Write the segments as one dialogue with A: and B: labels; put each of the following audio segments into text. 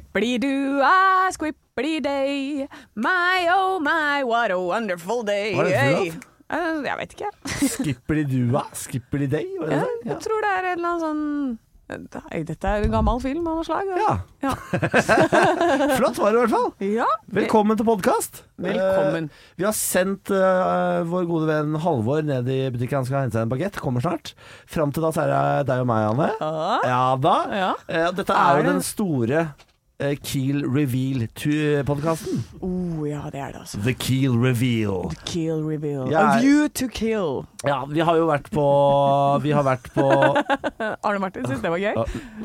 A: Squipply-doo-ah, squipply-day. My oh my, what a wonderful day.
B: Hva er det for noe?
A: Hey. Eh, Jeg vet ikke.
B: Skippeli-dua? Skippeli-day? Var det
A: Ja,
B: det?
A: jeg tror det er en eller annen sånn Nei, Dette er en gammel film av noe slag.
B: Ja.
A: Ja.
B: Flott var det i hvert fall.
A: Ja.
B: Velkommen til podkast.
A: Velkommen.
B: Eh, vi har sendt eh, vår gode venn Halvor ned i butikken. Han skal hente seg en bagett. Kommer snart. Fram til da så er det deg og meg, Anne.
A: Ja.
B: Ja da.
A: Ja.
B: Eh, dette
A: Er
B: er jo
A: det-
B: den store eh, Keel Reveal-podkasten.
A: Oh, ja, det er det, altså.
B: The Keel Reveal.
A: Kill reveal.
B: Jeg
A: A
B: er-
A: view to kill.
B: Ja, vi har jo vært på Vi har vært på
A: Arne Martin syntes det var gøy.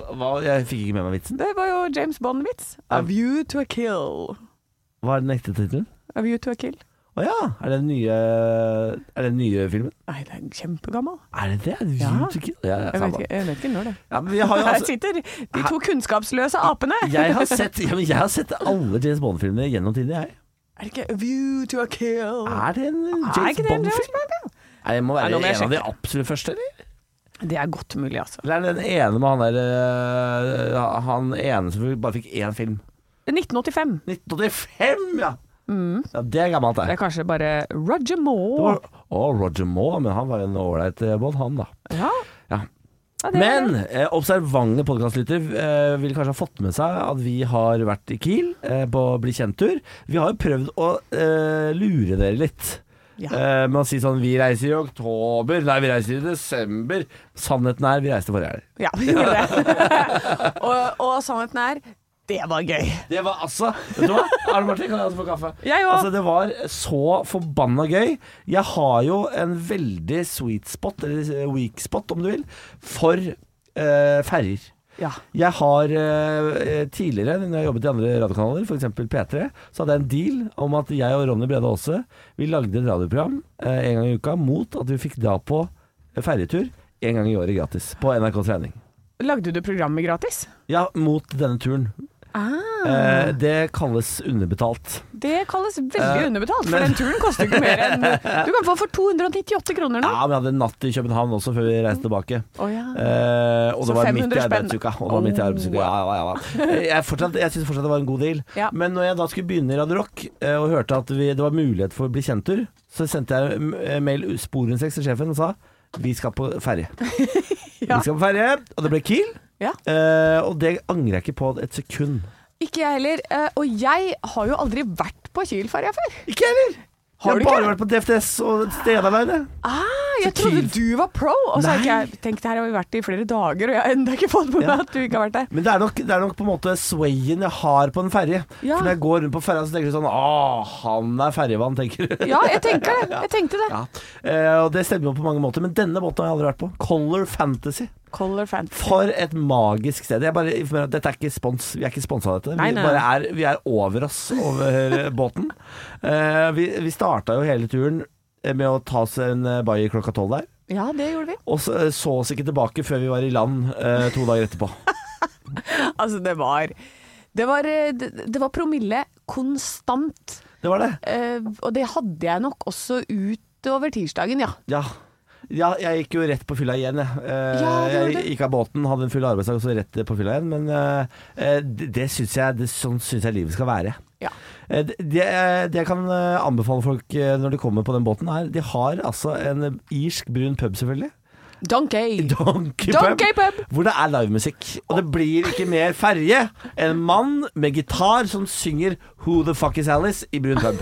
B: Hva? Jeg fikk ikke med meg vitsen.
A: Det var jo James Bond-vits. A
B: Ja.
A: view to a kill.
B: Hva er den ekte tittelen?
A: A view to a kill.
B: Å ja, er det den nye Er det den nye filmen?
A: Nei, det er kjempegammel.
B: Er det det?
A: Ja.
B: Utkikk- Ja, ja,
A: Jeg
B: samme.
A: vet ikke, jeg vet ikke når det
B: Ja, men jeg har jo
A: Her
B: altså
A: sitter de to kunnskapsløse apene.
B: jeg har, sett, ja, men jeg har sett alle James Bond-filmene gjennom tidene, jeg.
A: Er det ikke A view to a kill?
B: Er det en
A: Er
B: James
A: ikke det en James
B: Bond-film? Nei, Det må
A: Nei,
B: være
A: nå må jeg
B: en av de absolutt første, eller?
A: Det er godt mulig, altså.
B: Eller er det den ene med han der øh, Han ene som bare fikk én film?
A: 1985.
B: 1985, ja! Ja, Det er gammelt,
A: Mm. Det
B: det.
A: er kanskje bare Roger
B: Det
A: Moore.
B: var- Å, Roger Moore, men han var jo en ålreit eh, Bond, han, da.
A: Ja.
B: Ja.
A: Ja, det er det.
B: Men eh, observante podkastlytter eh, vil kanskje ha fått med seg at vi har vært i Kiel eh, på Bli kjent-tur. Vi har jo prøvd å eh, lure dere litt.
A: Ja.
B: Eh, med å si sånn Vi reiser i oktober. Nei, vi reiser i desember. Sannheten er, vi reiste forrige helg.
A: Ja, vi gjorde det. og, og sannheten er, det var gøy.
B: Det var altså Vet du hva? Arne Martin, kan jeg også få kaffe?
A: Jeg
B: Altså,
A: òg.
B: det var så forbanna gøy. Jeg har jo en veldig sweet spot, eller weak spot om du vil, for eh, ferger.
A: Ja.
B: Jeg har eh, tidligere, når jeg jobbet i andre radiokanaler, f.eks. P3, så hadde jeg en deal om at jeg og Ronny Brede Aase vi lagde et radioprogram eh, en gang i uka mot at vi fikk dra på ferjetur en gang i året gratis på NRKs regning.
A: Lagde du programmet gratis?
B: Ja, mot denne turen. Eh, det kalles underbetalt.
A: Det kalles veldig
B: Eh,
A: underbetalt, for den turen koster ikke mer enn Du kan få for 298 kroner nå.
B: Ja, men jeg hadde en natt i København også før vi reiste tilbake.
A: Å ja.
B: Eh, og
A: Så
B: det var midt i
A: 500 spenn.
B: arbeidsuka. Og det var midt i arbeidsuka. Ja, ja, ja. Eh, Jeg, fortsatt- jeg syns fortsatt det var en god deal.
A: Ja.
B: Men når jeg da skulle begynne i Radio Rock, eh, og hørte at vi, det var mulighet for å bli kjent-tur, så sendte jeg eh, mail sporenstreks til sjefen og sa vi skal på ferje.
A: Ja.
B: Vi skal på ferje, og det ble Kiel.
A: Ja.
B: Eh, og det angrer jeg ikke på et sekund.
A: Ikke jeg heller. Eh, Og jeg har jo aldri vært på Kiel-ferja før.
B: Ikke jeg heller!
A: Har
B: Har jeg
A: du
B: har bare
A: ikke?
B: vært på DFDS og Stedaleidet.
A: Ah, jeg
B: Så
A: trodde
B: Kiel-
A: du var pro, og så har ikke
B: Nei.
A: jeg tenkt her har vi vært i flere dager, og jeg har ennå ikke fått med
B: Ja.
A: meg at du ikke har vært der.
B: Men det er, nok, det er nok på en måte swayen jeg har på en ferje.
A: Ja.
B: For når jeg går rundt på ferja, så tenker du sånn Å, han er ferjevann, tenker du.
A: Ja, jeg tenker det. Jeg tenkte det.
B: Ja, eh, og det stemmer jo på mange måter, men denne båten har jeg aldri vært på. Color Fantasy.
A: Color Fantasy.
B: For et magisk sted. Jeg bare informerer at dette er ikke spons, vi er ikke sponsa av dette.
A: Nei,
B: Vi,
A: nei.
B: bare er, vi er over oss over båten. Eh, vi vi starta jo hele turen med å ta oss en eh, bai klokka tolv der,
A: Ja, det gjorde vi.
B: og så, eh, så oss ikke tilbake før vi var i land eh, to dager etterpå.
A: Altså, det var Det var, eh, det, det var promille konstant.
B: Det var det.
A: Eh, og det hadde jeg nok også utover tirsdagen, ja.
B: Ja. ja, jeg gikk jo rett på fylla igjen, jeg. Eh,
A: Ja, det gjorde
B: jeg
A: du.
B: gikk av båten, hadde en full arbeidsdag og så rett på fylla igjen. Men eh, eh, det, det syns jeg, det, sånn syns jeg livet skal være.
A: Ja.
B: Eh, Det, det det jeg kan eh, anbefale folk eh, når de kommer på den båten, er De har altså en irsk brun pub, selvfølgelig.
A: Donkey!
B: Donkey pub.
A: Donkey pub!
B: Hvor det er livemusikk. Og det blir ikke mer ferje enn en mann med gitar som synger 'Who the fuck is Alice' i brun pub.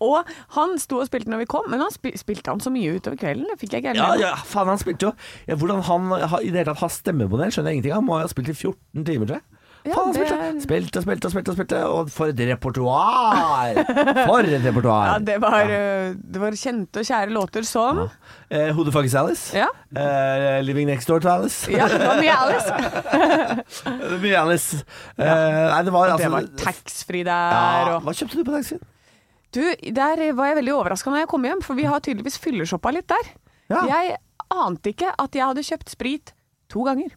A: Og han sto og spilte når vi kom, men han spil spilte han så mye utover kvelden. Det fikk jeg ikke helt
B: Ja,
A: med meg.
B: ja, faen, han spilte jo ja, Hvordan han har, i det hele tatt har stemmebonell, skjønner jeg ingenting av. Han må ha spilt i 14 timer, tror jeg.
A: Ja,
B: Faen, han
A: det er-
B: spilte, spilte og spilte og spilte, og spilte, og for et repertoar! For et repertoar!
A: Ja, det, var, eh, det var kjente og kjære låter som
B: Eh, Who the fuck is Alice?
A: Ja,
B: Eh, living next door to Alice.
A: ja det var mye Alice.
B: Mye Alice. Eh, nei, det var altså
A: Det var taxfree der
B: ja,
A: og
B: Hva kjøpte du på taxien?
A: Du, der var jeg veldig overraska når jeg kom hjem, for vi har tydeligvis fylleshoppa litt der.
B: Ja.
A: Jeg ante ikke at jeg hadde kjøpt sprit to ganger.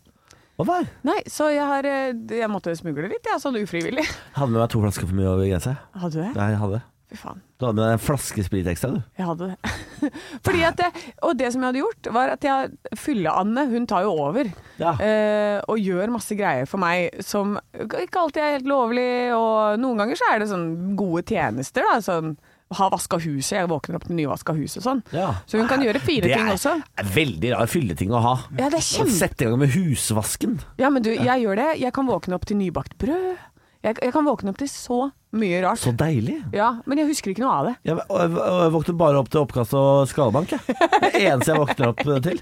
B: Hva var det?
A: Nei, så jeg har eh, Jeg måtte smugle litt, jeg, sånn ufrivillig.
B: Hadde med meg to flasker for mye over grensa.
A: Hadde du det?
B: Nei, jeg hadde.
A: Fy faen.
B: Du hadde med deg en flaske sprit ekstra, du.
A: Jeg hadde det. Fordi at det, og det som jeg hadde gjort, var at jeg Fylle-Anne, hun tar jo over.
B: Ja.
A: eh, og gjør masse greier for meg som ikke alltid er helt lovlig, og noen ganger så er det sånn gode tjenester, da. Sånn ha vaska huset, jeg våkner opp til nyvaska hus og sånn.
B: Ja.
A: Så hun kan gjøre fire
B: Det
A: ting
B: er,
A: også.
B: er veldig rar fylleting å ha.
A: Ja, det er kjempe-
B: Sette i gang med husvasken.
A: Ja, men du, jeg gjør det. Jeg kan våkne opp til nybakt brød. Jeg, jeg kan våkne opp til så mye rart.
B: Så deilig.
A: Ja, men jeg husker ikke noe av det.
B: Jeg, og jeg, og jeg våkner bare opp til oppkast og skallebank. Jeg. Det eneste jeg våkner opp til.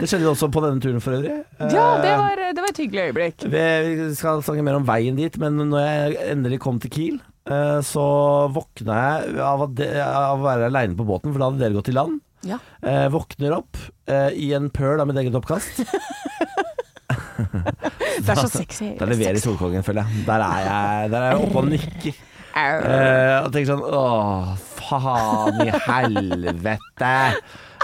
B: Det skjedde jo også på denne turen for øvrig.
A: Ja, det
B: Eh,
A: var, det var et hyggelig øyeblikk.
B: Vi vi skal snakke mer om veien dit, men når jeg endelig kom til Kiel, eh, så våkna jeg av, at de- av å være aleine på båten, for da hadde dere gått i land.
A: Ja.
B: Eh, våkner opp eh, i en pøl av mitt eget oppkast.
A: Det er så sexy.
B: Der leverer Solkongen, føler jeg. Der er jeg, der er jeg oppe og nikker.
A: Au.
B: Eh, og tenker sånn Åh, faen i helvete.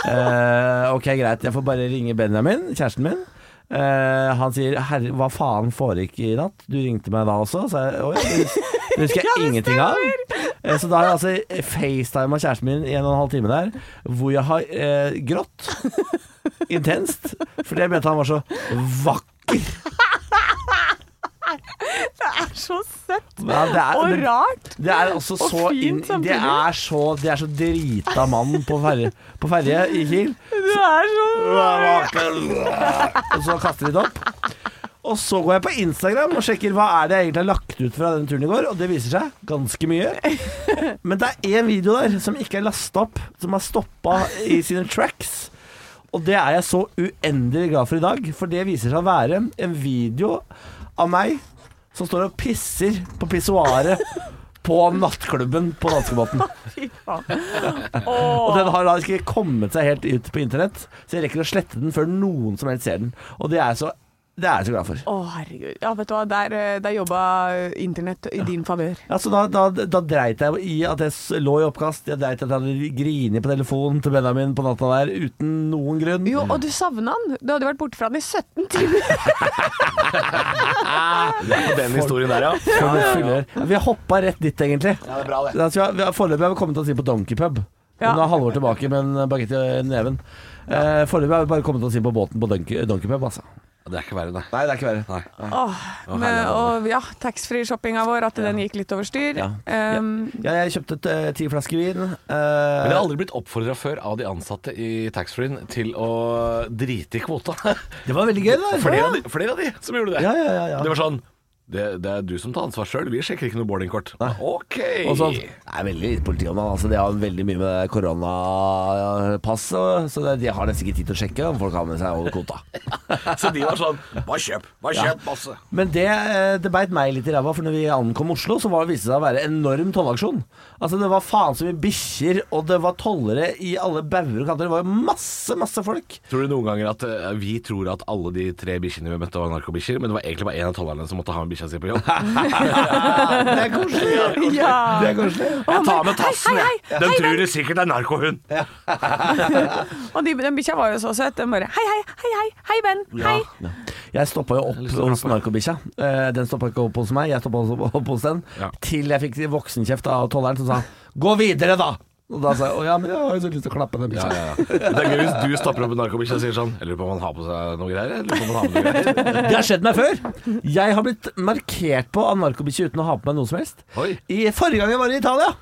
B: Eh, ok, greit. Jeg får bare ringe Benjamin, kjæresten min. Eh, han sier Herre, hva faen foregikk i natt? Du ringte meg da også? Så jeg, «Å ja, det hus- det husker jeg ingenting av. Eh, så da har jeg altså facetima kjæresten min i en og en halv time der, hvor jeg har eh, grått intenst. Fordi jeg mente han var så vakker.
A: Det er så søtt
B: Ja, det er-
A: og
B: men-
A: rart.
B: Det er også
A: Og
B: så
A: fint
B: inn, det,
A: samtidig.
B: er så, det er så drita mann på ferje, på ferje i Kiel.
A: Du er så
B: Og så kaster de det opp. Og så går jeg på Instagram og sjekker hva er det jeg egentlig har lagt ut fra den turen i går, og det viser seg ganske mye. Men det er én video der som ikke er lasta opp, som er stoppa i sine tracks. Og det er jeg så uendelig glad for i dag, for det viser seg å være en video av meg som står og pisser på pissoaret på nattklubben på danskebåten.
A: Fy faen.
B: Og
A: Åh.
B: den har da ikke kommet seg helt ut på internett, så jeg rekker å slette den før noen som helst ser den. Og det er jeg så, det er jeg så glad for.
A: Å, herregud. Ja, vet du hva, der, eh, der jobba internett i din favør.
B: Ja, så da, da, da dreit jeg i at jeg s- lå i oppkast, jeg dreit i at jeg hadde grinet på telefonen til Benjamin på natta der uten noen grunn.
A: Jo, og du savna han. Du hadde vært borte fra han i 17 timer.
C: Den historien der, ja.
B: Før vi fyller- Vi har hoppa rett dit, egentlig.
C: Ja, det er bra, det.
B: Da skal vi- vi har- Foreløpig har vi kommet oss inn på Donkey Pub.
A: Ja.
B: Hun er halvår tilbake med en bagett i neven. Eh, Foreløpig har vi bare kommet oss inn på båten på Donkey, Donkey Pub, altså.
C: Det er ikke verre, nei.
B: Nei, det er ikke verre.
C: nei.
A: Åh,
C: Å,
A: men,
C: herlig.
A: og ja, taxfree-shoppinga vår, at den gikk litt over styr.
B: Ja.
A: Um,
B: Ja, jeg kjøpte et, eh, ti flasker vin. eh,
C: Men jeg har aldri blitt oppfordra før av de ansatte i taxfree-en til å drite i kvota.
B: det var veldig gøy, da.
C: Flere av de, flere av de som gjorde det.
B: Ja, ja, ja, ja.
C: Det var sånn det, det er du som tar ansvar sjøl, vi sjekker ikke noe boardingkort. Ok.
B: Og sånn, det er veldig lite politi om han. Altså, de har veldig mye med koronapass, og- så det- de har nesten ikke tid til å sjekke om folk har med seg over kvota.
C: Så de var sånn Bare kjøp, bare kjøp altså." masse.
B: Men det, eh, det beit meg litt i ræva, for når vi ankom Oslo, så var, viste det seg å være enorm tollaksjon. Altså, det var faen så mye bikkjer, og det var tollere i alle bauger og kanter. Det var jo masse, masse folk.
C: Tror du noen ganger at eh, vi tror at alle de tre bikkjene vi møtte var narkobikkjer, men det var egentlig bare én av tollerne som måtte ha med bikkja si på jobb?
B: Det er koselig.
A: ja.
B: Det er koselig.
C: Jeg tar med
A: Hei,
C: tassen,
A: hei,
C: jeg. Den tror det sikkert er narkohund.
A: Og de, den bikkja var jo så søt. Den bare hei, hei, hei, hei, hei, Ben. Hei.
B: Ja. Jeg stoppa jo opp hos narkobikkja. Eh, Den stoppa ikke opp hos meg, jeg stoppa opp hos den.
C: Ja.
B: Til jeg fikk voksenkjeft av tolleren som sa 'gå videre', da! Og da sa jeg 'å ja, men jeg har jo så lyst til å klappe den bikkja'.
C: Det er gøy hvis du stopper opp en narkobikkje og sier sånn Jeg lurer på om han har på seg noe greier. Jeg lurer på om han har med noe greier.
B: Det har skjedd meg før! Jeg har blitt markert på av narkobikkje uten å ha på meg noe som helst.
C: Oi.
B: I forrige gang jeg var i Italia,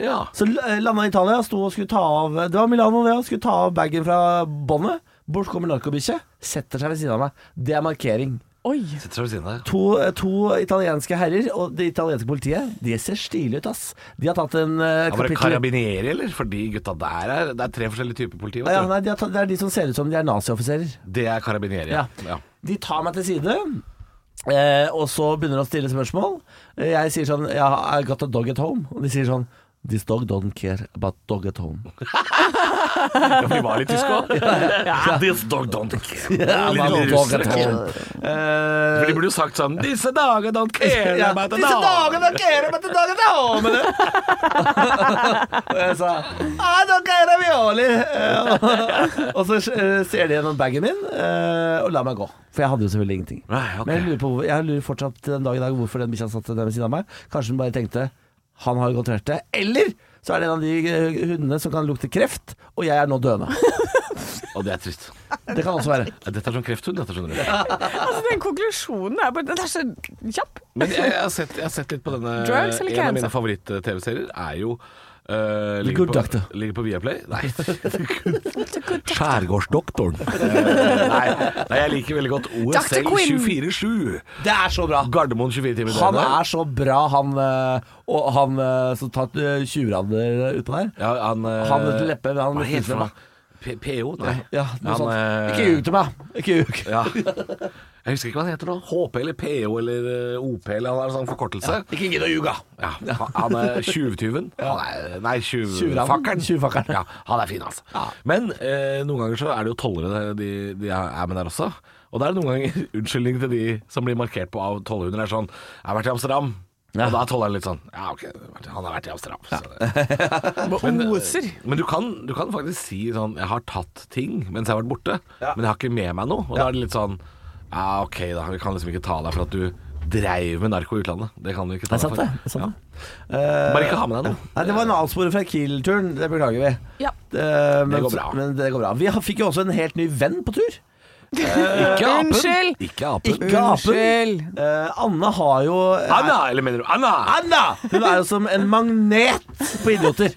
C: Ja.
B: så landa i Italia, sto og skulle ta av Det var Milano, det òg. Skulle ta av bagen fra båndet. Bort kommer narkobikkje, setter seg ved siden av meg. Det er markering.
A: Oi.
C: Sitter ved siden av deg.
B: to, to italienske herrer og det italienske politiet, de ser stilige ut, ass. De har tatt en eh,
C: Han bare
B: kapittel...
C: karabinieri, eller? For de gutta der er Det er tre forskjellige typer politi.
B: Ja,
C: Vet du.
B: nei, de har tatt, det er de som ser ut som de er nazioffiserer.
C: Det er karabinieri.
B: Ja.
C: Ja. Ja.
B: De tar meg til side, eh, og så begynner de å stille spørsmål. Eh, Jeg sier sånn ja, I got a dog at home. Og de sier sånn This dog don't care about dog at home.
C: Vi var litt tyske òg. This dog don't care.
B: About
C: Lille
B: dog at
C: russere.
B: home. Eh,
C: For de burde jo sagt sånn Disse dager don't care
B: Ja,
C: about the
B: disse
C: dog.
B: dagene dere med til dagen til homen Og jeg sa «Ah, dere er ravioli Eh, Og så eh, ser de gjennom baggen min eh, Og la meg gå For jeg hadde jo selvfølgelig ingenting
C: Nei, ok.
B: Men jeg lurer, på, hvor- jeg lurer fortsatt den dag i dag Hvorfor den bikkja satt der ved siden av meg Kanskje hun bare tenkte Han har jo godt hørt det Eller så er det en av de eh, hundene som kan lukte kreft, og jeg er nå døende.
C: Og det er trist.
B: Det kan også være.
C: Dette er sånn krefthund, dette, skjønner du.
A: Altså, den konklusjonen er bare Den er så kjapp.
C: Men jeg, jeg, har sett, jeg har sett litt på denne
A: Drugs eller
C: En av
A: cancer?
C: mine favoritt-TV-serier er jo uh,
B: Good
C: ligger, på,
B: Doctor.
C: ligger på Viaplay. Nei,
B: Skjærgårdsdoktoren.
C: nei, nei, jeg liker veldig godt
A: Dr.
C: OSL
A: Quinn.
C: 24-7.
B: Det er så bra!
C: Gardermoen 24 timer i
B: Han
C: døgnet.
B: er så bra, han, eh, og han eh, som tatt eh, tjuvraner utpå der.
C: ja, han, eh,
B: Han heter Leppe, men han
C: Hva
B: heter
C: heter
B: Leppe.
C: han? da? P- PO? Nei.
B: Ja, noe
C: Han,
B: sånt.
C: eh,
B: Ikke ljug til meg! Ikke ljug.
C: Ja. Jeg husker ikke hva han heter nå. HP eller PO eller eh, OP eller han har en sånn forkortelse.
B: Ikke gidd å ljuge!
C: Ja, han- han er tjuvtyven. Han er- Nei, tjuvfakkeren.
B: Tjuvranen. Tjuvfakkeren.
C: Ja, han er fin, altså. Men eh, noen ganger så er det jo tollere de, de er med der også. Og da er det noen ganger unnskyldning til de som blir markert på av tollhunder, er sånn 'Jeg har vært i Amsterdam'. Og da er tolleren litt sånn 'Ja, ok, han har vært i Amsterdam'. Så det.
A: Oser.
C: Men du kan, du kan faktisk si sånn 'Jeg har tatt ting mens jeg har vært borte, men jeg har ikke med meg noe'. Og da er det litt sånn 'Ja, ok, da. Vi kan liksom ikke ta deg for at du dreiv med narko i utlandet'. Det kan vi ikke ta
B: Det er sant, det.
C: deg for.
B: det, er sant, det. Eh,
C: Bare ikke ha med deg noe.
B: Nei, det var en avsporing fra Kiel-turen. Det beklager vi.
A: Ja.
B: Eh, men,
C: Det går bra.
B: Men det går bra. Vi har- fikk jo også en helt ny venn på tur.
C: Ikke apen.
A: Unnskyld.
C: Ikke apen.
B: Ikke apen.
A: Unnskyld.
B: Eh, Anne har jo
C: Anna, eller mener du Anna?
B: Anna! Hun er jo som en magnet på idioter.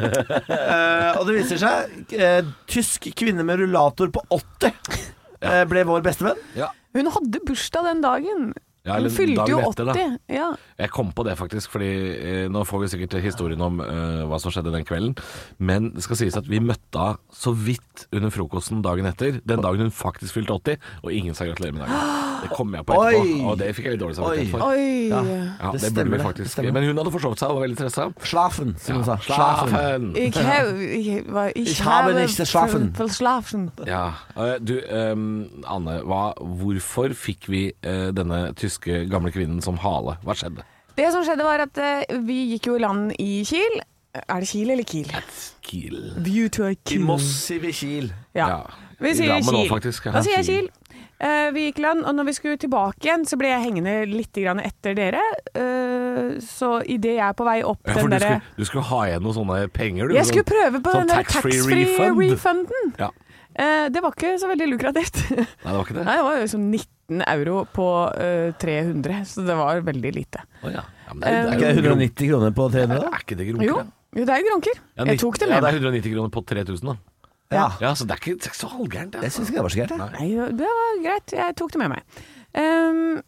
B: Eh, og det viser seg eh, Tysk kvinne med rullator på 80 eh, ble vår bestevenn.
C: Ja.
A: Hun hadde bursdag den dagen.
C: Ja,
A: Hun
C: eller
A: fylte jo
C: dagen etter, da.
A: 80. Ja.
C: Jeg kom på det faktisk, fordi eh, nå får vi sikkert historien om eh, hva som skjedde den kvelden. Men det skal sies at vi møtte henne så vidt under frokosten dagen etter. Den dagen hun faktisk fylte 80, og ingen sa gratulerer med dagen. Det kom jeg på etterpå,
B: Oi.
C: og det fikk jeg litt dårlig
B: Oi.
C: samvittighet for.
A: Oi.
C: Ja,
B: Det
C: det burde
B: stemmer
C: vi
B: det, det
C: faktisk.
B: stemmer.
C: Men hun hadde forsovet seg og var veldig stressa.
B: Slafen, som hun sa. Schlafen.
C: Slafen.
A: Ich habe, ich, war- ich
B: Ich habe nicht geschlafen.
A: verschlafen.
C: Ja. eh, Du, eh, Anne, hva, hvorfor fikk vi eh, denne tyske gamle kvinnen som hale? Hva skjedde?
A: Det som skjedde var at eh, vi gikk jo i land i Kiel. Er det Kiel eller Kiel?
C: Kiel.
A: View to a
B: I Moss i Kiel.
A: Ja.
C: Ja.
A: Vi
C: I
A: sier
C: Drammen
A: Kiel.
C: også, faktisk, ja.
A: Da sier jeg Kiel. Eh, vi gikk i land, og når vi skulle tilbake igjen, så ble jeg hengende litt grann etter dere. Eh, så idet jeg er på vei opp
C: Ja,
A: den
C: for du
A: derre
C: skulle, du skulle ha igjen noen sånne penger, du.
A: Jeg
C: sånn-
A: skulle prøve på
C: sånn
A: den der
C: tax-free
A: taxfree-refunden.
C: Ja.
A: det var ikke så veldig lukrativt. Nei,
C: Nei, det var ikke det.
A: det var jo som 19 euro på eh, 300, så det var veldig lite.
C: Å, ja. Ja, men det, er-
A: Eh,
B: Ikke
C: det er, jo gro-
B: 190 kroner på 300, da?
C: er ikke det grunker?
A: Jo, jo det er jo gronker.
C: Ja,
A: Jeg tok det
C: Ja,
A: med
C: det
A: meg.
C: er 190 kroner på 3000, da.
B: Ja.
C: Ja, så det er ikke det er ikke så halvgærent.
B: Jeg
C: Altså.
B: syns ikke det var så gærent. jeg.
A: Nei, det var greit. Jeg tok det med meg. Ehm,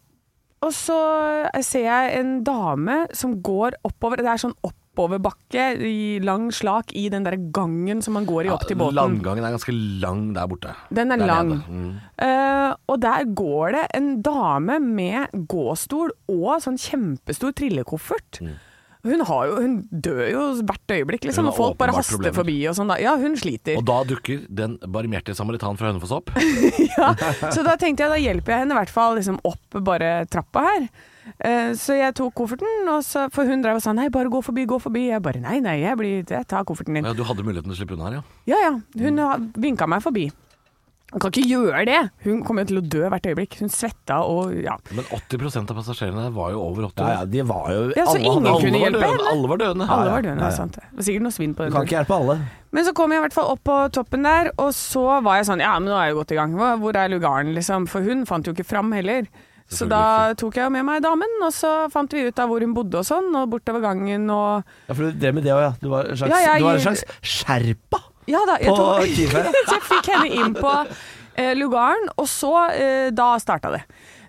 A: og så eh, ser jeg en dame som går oppover. Det er sånn oppoverbakke i lang slak i den der gangen som man går i opp til båten.
C: Landgangen er ganske lang der borte.
A: Den er
C: Der
A: lang.
C: nede. Mm.
A: Eh, og der går det en dame med gåstol og sånn kjempestor trillekoffert. Hun, har jo, hun dør jo hvert øyeblikk, liksom.
C: Mm. Hun har
A: Og folk bare
C: åpenbart
A: haster
C: problemer.
A: forbi og sånn. Da. Ja, hun sliter.
C: Og da dukker den barmhjertige samaritan fra Hønefoss opp.
A: Så da tenkte jeg, da hjelper jeg henne i hvert fall liksom opp bare trappa her. Eh, så jeg tok kofferten, og så, for hun drev og sa nei, bare gå forbi, gå forbi. Jeg bare nei, nei, jeg, blir, jeg tar kofferten din.
C: Ja, du hadde muligheten til å slippe unna her, ja.
A: Ja ja, hun har vinka meg forbi. Hun kan ikke gjøre det! Hun kommer jo til å dø hvert øyeblikk. Hun svetta og ja.
C: Men 80 av passasjerene der var jo over 80
B: Ja,
C: år.
B: ja, de var jo
A: Ja, så
B: alle hadde-
A: ingen
C: Alle,
A: kunne
C: var
A: hjelpe
C: døende.
A: henne.
C: alle var døende.
A: Alle
B: ja,
A: var døende,
B: ja, ja.
A: sant det. Det var sikkert noe svinn på
B: Du
A: den.
B: kan ikke
A: turen.
B: hjelpe alle.
A: Men så kom jeg i hvert fall opp på toppen der, og så var jeg sånn Ja, men nå er jeg jo godt i gang. Hva- Hvor er lugaren, liksom? For hun fant jo ikke fram heller. Så
C: Selvfølgelig
A: da tok jeg jo med meg damen, og så fant vi ut av hvor hun bodde og sånn, og bortover gangen og
B: Ja, for du drev med det òg, ja. Du var en slags,
A: Ja, jeg-
B: du var en slags sherpa
A: Ja da, jeg
B: på
A: tok
B: Kielferja.
A: Så jeg fikk henne inn på eh, lugaren, og så eh, Da starta det.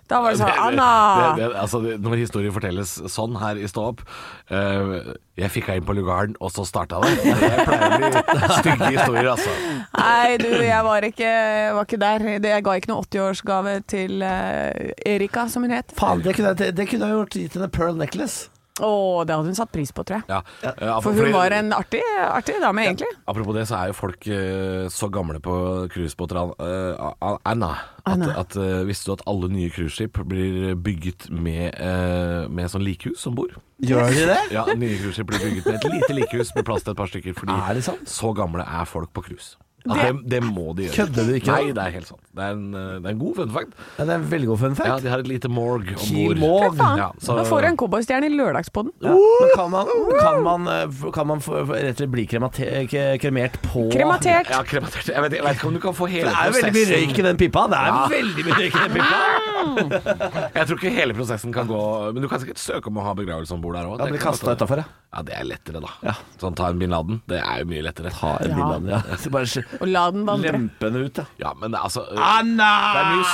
A: Da var det sånn Anna!
C: Det, det, det, altså, det, når historien fortelles sånn her i Stå opp eh, Jeg fikk henne inn på lugaren, og så starta det. Det pleier å bli stygge historier, altså.
A: Nei, du, jeg var ikke, var ikke der. Det- Jeg ga ikke noe 80-årsgave til eh, Erika, som hun het.
B: Faen, det kunne, jeg, det kunne jeg gjort gitt henne pearl necklace.
A: Å, det hadde hun satt pris på, tror jeg.
C: Ja. eh,
A: For hun
C: fordi-
A: var en artig, artig dame, egentlig.
C: Apropos det, så er jo folk eh, så gamle på cruisebåter An- eh, An- Anna, at,
A: Anna.
C: at eh, visste du at alle nye cruiseskip blir bygget med, eh, med sånn likhus om bord?
B: Gjør de det?
C: Ja, nye cruiseskip blir bygget med et lite likhus med plass til et par stykker, fordi
B: Er det sant?
C: så gamle er folk på cruise. Ja, det, det må de gjøre.
B: Kødder du ikke nå?
C: Nei, det er helt sant. Det er en, eh, det er en god fun fact.
B: Ja, det er en veldig god fun
C: Ja,
B: fact.
C: de har et lite morg om
B: Kiel
C: bord.
B: Måg.
A: Fy faen.
C: Ja, så-
A: Nå får du en cowboystjerne i lørdagspodden.
B: Ja, men kan man, kan man, eh, kan man få, rett og slett bli kremate, k- kremert på
A: Krematert.
C: Ja, krematert. Jeg vet, jeg vet ikke om du kan få
B: Det
C: hele
B: er jo veldig mye røyk i den pipa. Det er veldig mye røyk i den pipa.
C: Jeg tror ikke hele prosessen kan gå Men du kan sikkert søke om å ha begravelse om bord der òg.
B: Da blir kasta utafor, ja.
C: Ja, det er lettere, da. Sånn ta en bin Laden. Det er jo mye lettere.
B: Ta en
A: Ja.
B: bil av den, ja. Så bare sk-
A: Og la den vandre.
B: lempe den ut, ja.
C: Ja, men det er altså
B: Anna!
C: Det er mye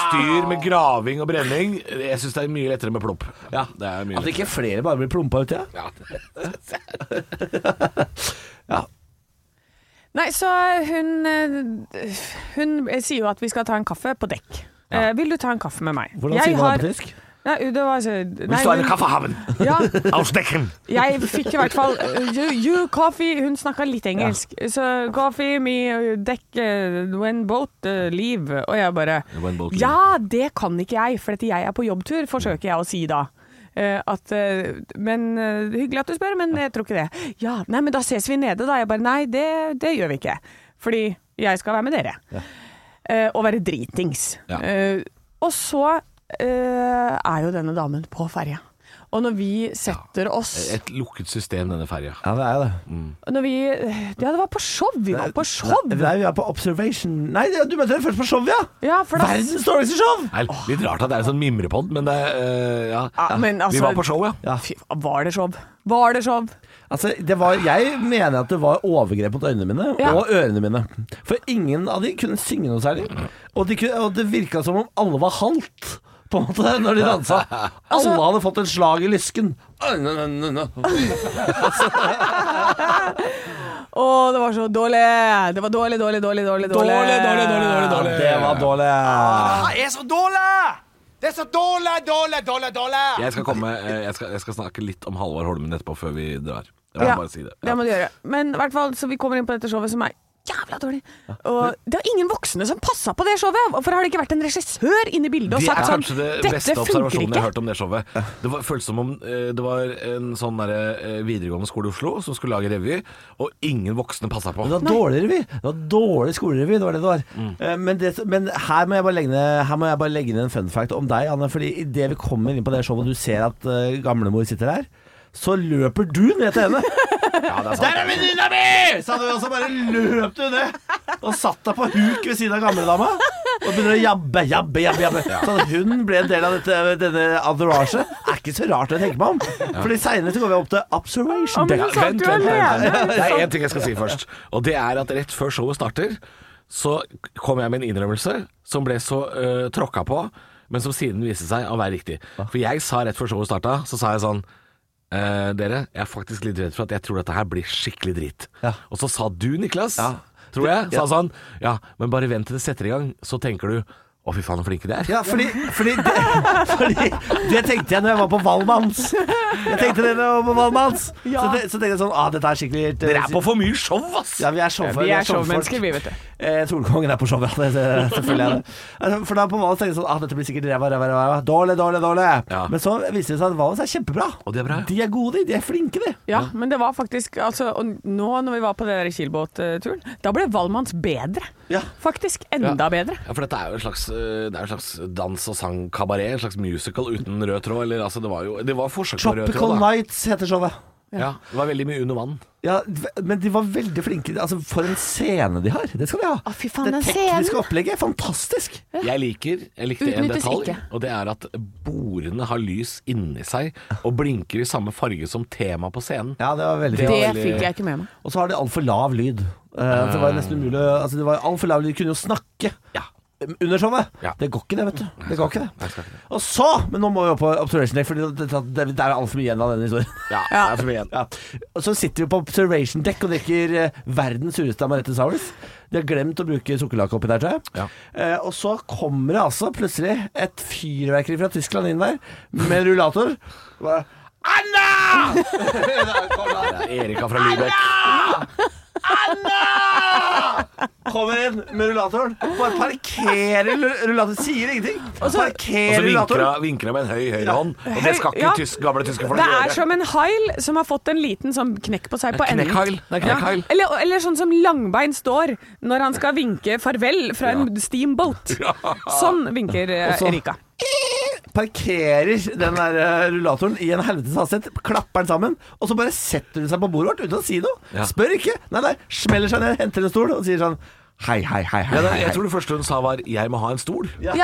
C: styr med graving og brenning. Jeg syns det er mye lettere med plopp. Ja, det er mye
B: At
C: lettere.
B: ikke flere bare blir plumpa uti, ja.
C: Ja.
B: ja.
A: Nei, så hun eh, Hun sier jo at vi skal ta en kaffe på dekk. Eh, vil du ta en kaffe med meg?
B: Hvordan sier man det på tysk?
A: Nei, det var så
C: Vi
A: nei,
C: står i
A: hun-
C: kaffehaven.
A: Ja,
C: Ausdekken.
A: jeg fikk i hvert fall eh, You, you coffee Hun snakka litt engelsk. Så coffee, me, dekk, eh, when boat, eh, leave. Og jeg bare
C: When boat leave.
A: Ja, det kan ikke jeg, for at jeg er på jobbtur, forsøker jeg å si da. Eh, at, eh, men eh, Hyggelig at du spør, men jeg tror ikke det. Ja, nei, men da ses vi nede, da. Jeg bare nei, det, det gjør vi ikke. Fordi jeg skal være med dere. Eh, og være dritings.
C: Ja.
A: Eh, og så eh, er jo denne damen på ferja. Og når vi setter oss
C: Et lukket system, denne ferja.
B: Ja, det er jo det.
A: Når vi Ja, det var på show! Vi var på show!
B: Nei, nei, vi er på Observation Nei, det- du møtte henne først på show, ja!
A: Ja, for da
B: Verdens dårligste show!
C: Nei, litt rart at det er en sånn mimrepod, men det eh, ja.
A: Ja, men altså-
C: Vi var på show, ja.
B: Ja.
A: Fy, var det show? Var det show?
B: Altså, det var, jeg mener at det var overgrep mot øynene mine
A: Ja.
B: og ørene mine. For ingen av de kunne synge noe særlig. Og, de kunne, og det virka som om alle var halvt. På en måte, når de dansa.
C: Altså-
B: Alle hadde fått et slag i lysken.
A: Å, det var så dårlig! Det var dårlig, dårlig, dårlig, dårlig.
C: Dårlig, dårlig, dårlig, dårlig,
B: Ja,
C: dårlig.
B: det var dårlig.
D: Det er så dårlig! Det er så dårlig, dårlig, dårlig, dårlig!
C: Jeg skal, komme, eh, jeg, skal, jeg skal snakke litt om Halvard Holmen etterpå, før vi drar. Jeg må
A: Ja,
C: bare si det.
A: det må du gjøre. Men i hvert fall, så vi kommer inn på dette showet som er jævla dårlig. Og det var ingen voksne som passa på det showet! Hvorfor har det ikke vært en regissør inne i bildet og
C: Det er
A: sagt sånn
C: kanskje det beste
A: Dette funker
C: observasjonen jeg har
A: ikke!
C: hørt om det showet. Det var, føltes som om eh, det var en sånn derre, eh, videregående skole i Oslo som skulle lage revy, og ingen voksne passa på. Mm.
B: Men det var dårlig revy. Det var dårlig skolerevy, det var det det var. Eh, Men, det, men her, må jeg bare legge ned, her må jeg bare legge ned en fun fact om deg, Anne. Fordi idet vi kommer inn på det showet og du ser at eh, gamlemor sitter her, så løper du ned til henne.
C: Ja, det er sant.
B: Der er venninna mi! Sa du, og så bare løp du ned og satt deg på huk ved siden av gamledama. Og begynner å jabbe, jabbe, jabbe. jabbe. Så at hun ble en del av dette, denne entouraget, er ikke så rart når jeg tenker meg om. Fordi seinere går vi opp til
A: Ja,
B: observation
A: men
B: deck.
A: hun satt jo
C: vent, vent,
A: alene!
C: vent. Det er én ting jeg skal si først. Og det er at rett før showet starter, så kom jeg med en innrømmelse som ble så uh, tråkka på, men som siden viste seg å være riktig. For jeg sa rett før showet starta, så sa jeg sånn «Eh, dere, jeg er faktisk litt redd for at jeg tror dette her blir skikkelig drit.
B: Ja.
C: Og så sa du, Niklas,
B: Ja.
C: tror jeg,
B: Ja.
C: sa sånn Ja, men bare vent til det setter i gang, så tenker du Å, fy faen, så flinke de er.
B: Ja, fordi, fordi, det, fordi det tenkte jeg når jeg var på Valmanns. Jeg tenkte det når jeg var på Valmanns. Så,
A: Ja.
B: te- så tenkte jeg sånn ah, dette er skikkelig
C: Dere er på for mye show, ass!
B: Ja, vi er showfolk.
A: Vi
B: vi
A: er
C: sånn
B: showfolk.
A: showmennesker, vi, vet du.
B: Eh, Solkongen er på showet, ja. Det, det, selvfølgelig er det. Altså, For da på Valens tenkte jeg sånn ah, dette blir sikkert ræva, ræva, ræva. Dårlig, dårlig, dårlig.
C: Ja.
B: Men så viser det seg at Valens er kjempebra.
C: Og de er bra, ja.
B: De er gode, de. De er flinke, de.
A: Ja, men det var faktisk altså, Og nå når vi var på den der Kielbåtturen, da ble Valmanns bedre.
B: Ja.
A: Faktisk enda bedre.
C: Ja, for dette er jo en slags, eh, det er jo en slags dans- og sangkabaret, en slags musical uten rød tråd. Eller, altså, det var jo det var forsøk på rød
B: Tropical
C: tråd. Da.
B: Nights heter showet.
C: Ja, det var veldig mye under vann.
B: Ja, d- men de var veldig flinke. Altså, for en scene de har. Det skal de ha.
A: Å, fy faen,
B: det
A: den
B: tekniske
A: scenen.
B: opplegget er fantastisk.
C: Jeg liker jeg likte en
A: Utnyttes
C: detalj,
A: ikke.
C: og det er at bordene har lys inni seg og blinker i samme farge som temaet på scenen.
B: Ja, det var veldig
C: Det
B: fint.
A: Det
C: veldig-
A: fikk jeg ikke med meg.
B: Og så har de altfor lav lyd. Eh, det var nesten umulig å- altså, det var alt for lav lyd. De kunne jo snakke
C: Ja.
B: eh, under showet.
C: Ja.
B: Det går ikke, det, vet du. Det går ikke,
C: Nei,
B: det.
C: skal ikke det.
B: Og så Men nå må vi opp på Observation Deck, for det, det, det, det er altfor mye igjen av denne historien.
C: Ja,
A: Ja.
C: det er for mye igjen.
B: Ja. Og så sitter vi på Observation Deck og drikker eh, verdens sureste amaretto sours. De har glemt å bruke sukkerlake oppi der, tror jeg.
C: Ja.
B: Eh, og så kommer det altså plutselig et fyrverkeri fra Tyskland inn der med rullator. Bare, Anna!
C: Det er Erika fra Lübeck.
B: Anna! kommer inn med rullatoren, bare parkerer rull- rullatoren, sier ingenting.
C: Og så
B: Parkerer
C: vinker
B: rullatoren.
C: hun- vinker hun med en høy høyrehånd, og det skal ikke
A: Ja.
C: tysk, gamle tyske folk
A: Det er
C: gjøre.
A: som en hail som har fått en liten sånn knekk på seg på enden.
C: knekkhail. Det er knekkhail.
A: Ja, eller, eller sånn som Langbein står når han skal vinke farvel fra en steamboat. Sånn vinker eh,
B: Og så-
A: Erika.
B: Parkerer den der eh, rullatoren i en helvetes hastighet, klapper den sammen, og så bare setter hun seg på bordet vårt uten å si noe.
C: Ja.
B: Spør ikke. Nei, nei. Smeller seg ned, henter en stol og sier sånn hei, hei, hei,
C: Ja,
B: hei.
C: det,
B: hei,
C: jeg
B: hei.
C: tror det første hun sa var 'jeg må ha en stol'.
A: Ja,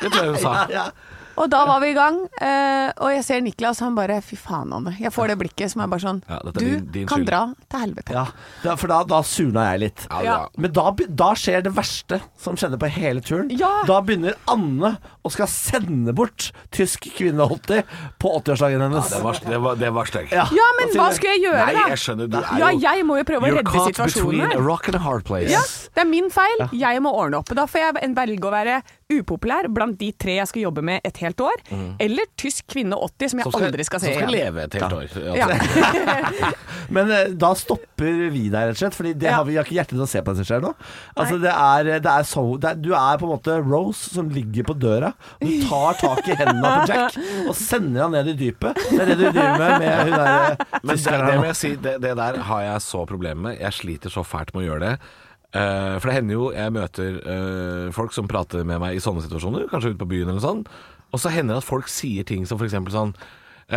C: Det tror jeg hun sa.
B: Ja.
A: og da var vi i gang, eh, og jeg ser Niklas, han bare fy faen, Anne. Jeg får det blikket som er bare sånn
C: Ja, dette er
A: Du
C: din- din
A: kan
C: skyld."
A: dra til helvete.
B: Ja, da- for da, da surna jeg litt.
C: Ja, det
A: Ja.
C: var-
B: Men da, be- da skjer det verste som skjedde på hele turen.
A: Ja.
B: Da begynner Anne å skal sende bort tysk kvinne alltid på 80-årsdagen hennes.
C: Det var, det var, det var stygt.
A: Ja, men hva skulle jeg gjøre,
C: Nei,
A: da?
C: jeg skjønner. Du er jo
A: Ja, jeg må jo prøve å
C: You're
A: redde
C: caught
A: situasjonen
C: between a
A: her.
C: rock and a hard place.
A: Ja, det er min feil. Jeg må ordne opp. Da får jeg velge å være upopulær blant de tre jeg skal jobbe med et helt år, eller tysk kvinne 80, som jeg
C: Mm. Som skal,
A: aldri skal se
C: som skal
A: igjen.
C: leve et helt år.
A: Ja.
B: Men eh, da stopper vi deg, rett og slett. Fordi det
A: Ja.
B: har vi, vi har ikke hjerte til å se på det som skjer nå. Altså, det er, det er så, det er, du er på en måte Rose som ligger på døra. og Du tar tak i hendene på Jack og sender han ned i dypet. Det er det du driver med med hun derre
C: Men det, det, må jeg si, det, det der har jeg så problemer med. Jeg sliter så fælt med å gjøre det. Eh, for det hender jo jeg møter eh, folk som prater med meg i sånne situasjoner, kanskje ute på byen eller noe sånt, og så hender det at folk sier ting som f.eks. sånn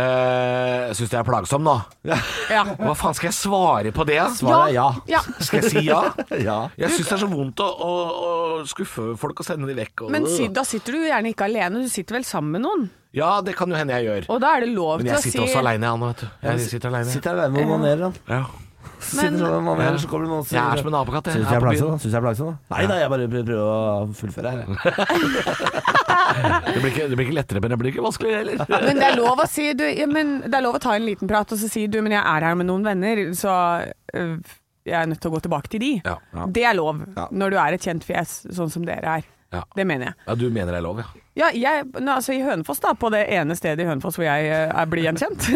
C: uh, Syns du jeg er plagsom nå?
A: Ja.
C: Hva faen skal jeg svare på det? da?
B: Svaret er ja.
A: Ja.
C: Skal jeg si ja?
B: Ja.
C: Jeg syns det er så vondt å, å, å skuffe folk og sende dem vekk. Og,
A: Men si- da sitter du jo gjerne ikke alene, du sitter vel sammen med noen.
C: Ja, det kan jo hende jeg gjør.
A: Og da er det lov
C: Men
A: til å
C: jeg
A: si
C: sitter også aleine, Anne, vet du. Jeg sitter aleine.
B: Sitter alene med manerer, han.
C: Ja.
B: Sitter sånn med manerer, så kommer det noen og sier
C: Jeg er som en apekatt.
B: Syns
C: jeg.
B: jeg er
C: Her på byen.
B: plagsom, da? Syns jeg er plagsom, da? Nei da, jeg bare prøver prøver å fullføre her. jeg. altså.
C: Det blir, ikke, det blir ikke lettere, men det blir ikke vanskeligere heller.
A: Men det er lov å si du, ja, men Det er lov å ta en liten prat og så si du, men jeg er her med noen venner, så øh, jeg er nødt til å gå tilbake til de.
C: Ja, ja.
A: Det er lov når du er et kjent fjes, sånn som dere er.
C: Ja.
A: Det mener jeg.
C: Ja, du mener det er lov, ja.
A: Ja, jeg, nå, altså I Hønefoss, da, på det ene stedet i Hønefoss hvor jeg øh, er, blir gjenkjent,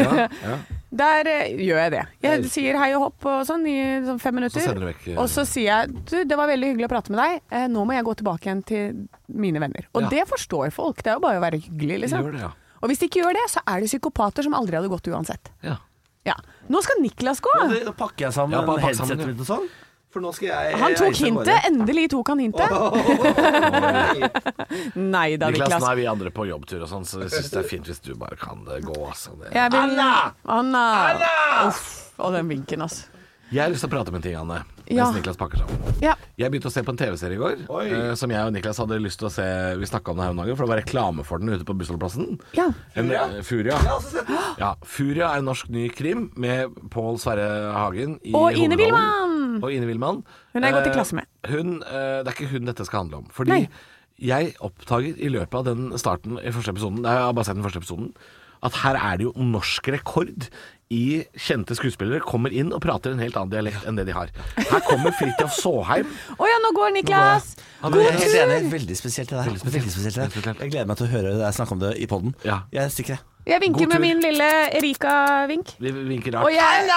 A: der øh, gjør jeg det. Jeg sier hei og hopp og sånn i sånn fem minutter.
C: sender du vekk, øh,
A: og så sier jeg du, det var veldig hyggelig å prate med deg, eh, nå må jeg gå tilbake igjen til mine venner. Og
C: Ja.
A: det forstår folk, det er jo bare å være hyggelig, liksom.
C: Gjør det, ja.
A: Og hvis de ikke gjør det, så er de psykopater som aldri hadde gått uansett.
C: ja.
A: Ja. Nå skal Niklas gå!
B: Og det- Nå pakker jeg sammen
C: Ja, bare pakk sammen,
B: headsetet
C: ja.
B: mitt og sånn. For nå skal jeg
A: Han tok
B: jeg- jeg-
A: hintet. Endelig tok han hintet. Nei da,
C: Niklas, nå
A: Niklas.
C: er vi andre på jobbtur og sånn, så jeg syns det er fint hvis du bare kan det gå, altså. Det.
A: Jeg vil...
B: Anna!
A: Anna! Uff, og den vinken, altså.
C: Jeg har lyst til å prate om en ting, Anne, mens
A: Ja.
C: Niklas pakker sammen.
A: Ja.
C: Jeg begynte å se på en TV-serie i går
B: Oi.
C: eh, som jeg og Niklas hadde lyst til å se. Vi snakka om det her om dagen, for det var reklame for den ute på bussholdeplassen.
A: Ja.
C: En, eh, Furia.
B: Jeg har også sett den.
C: Ja, Furia er en norsk ny krim med Pål Sverre Hagen i
A: Og Ine
C: hovedrollen.
A: Wilman!
C: Og Ine Wilman.
A: Hun har jeg gått i
C: Eh,
A: klasse med.
C: Hun, eh, det er ikke hun dette skal handle om. Fordi
A: Nei.
C: jeg oppdager i løpet av den starten i første episoden, nei, jeg har bare sett den første episoden, at her er det jo norsk rekord i kjente skuespillere kommer inn og prater en helt annen dialekt enn det de har. Her kommer Fridtjof Saaheim.
A: Å ja, nå går Niklas!
C: Han
B: Men
C: er-
B: jeg er helt enig. Veldig spesielt det der. Veldig
C: spesielt.
B: spesielt det
C: Veldig
B: der.
C: spesielt.
B: Jeg gleder meg til å høre deg snakke om det i poden.
C: Ja.
B: Jeg stikker, jeg.
A: Jeg vinker
C: God tur.
A: med min lille Erika-vink.
C: Vi vinker
A: Og
C: rart.
A: jeg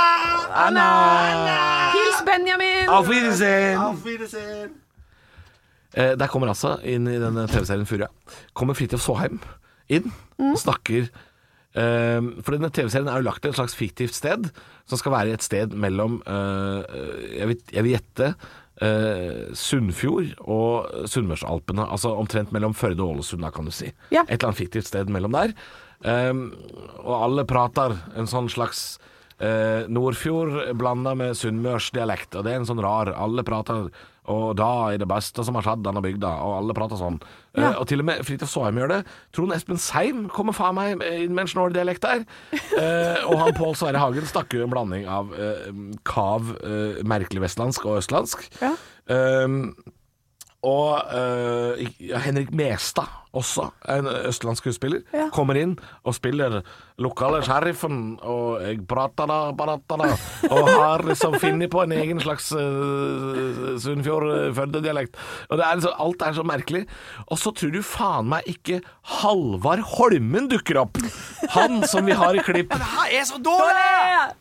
A: Anna! Hils Benjamin!
C: Auf Wiedersehen! Eh, der kommer altså inn i denne TV-serien Furia Kommer Fridtjof Saaheim inn og snakker eh, For denne TV-serien er jo lagt til et slags fiktivt sted, som skal være et sted mellom eh, jeg, vil, jeg vil gjette eh, Sunnfjord og Sunnmørsalpene. Altså omtrent mellom Førde og Ålesund, da, kan du si.
A: Ja.
C: Et eller annet fiktivt sted mellom der. Eh, og alle prater en sånn slags Eh, Nordfjord blanda med sunnmørsdialekt, og det er en sånn rar Alle prater og da er det beste som har skjedd denne bygda, og alle prater sånn. Eh,
A: Ja.
C: og til og med Fridtjof Saaheim gjør det. Trond Espen Seim kommer faen meg inn med en snåldialekt der. Eh, og han Pål Sverre Hagen snakker jo en blanding av eh, kav, eh, merkelig vestlandsk og Ehm, østlandsk.
A: Ja.
C: Eh, og eh, Henrik Mestad også en østlandsk skuespiller,
A: Ja.
C: kommer inn og spiller lokale sheriffen, og jeg prater da, prater da, og har liksom funnet på en egen slags eh, Sunnfjord-Førde-dialekt. Og det er liksom, alt er så merkelig. Og så tror du faen meg ikke Halvard Holmen dukker opp! Han som vi har i klipp.
D: Det her er så dårlig!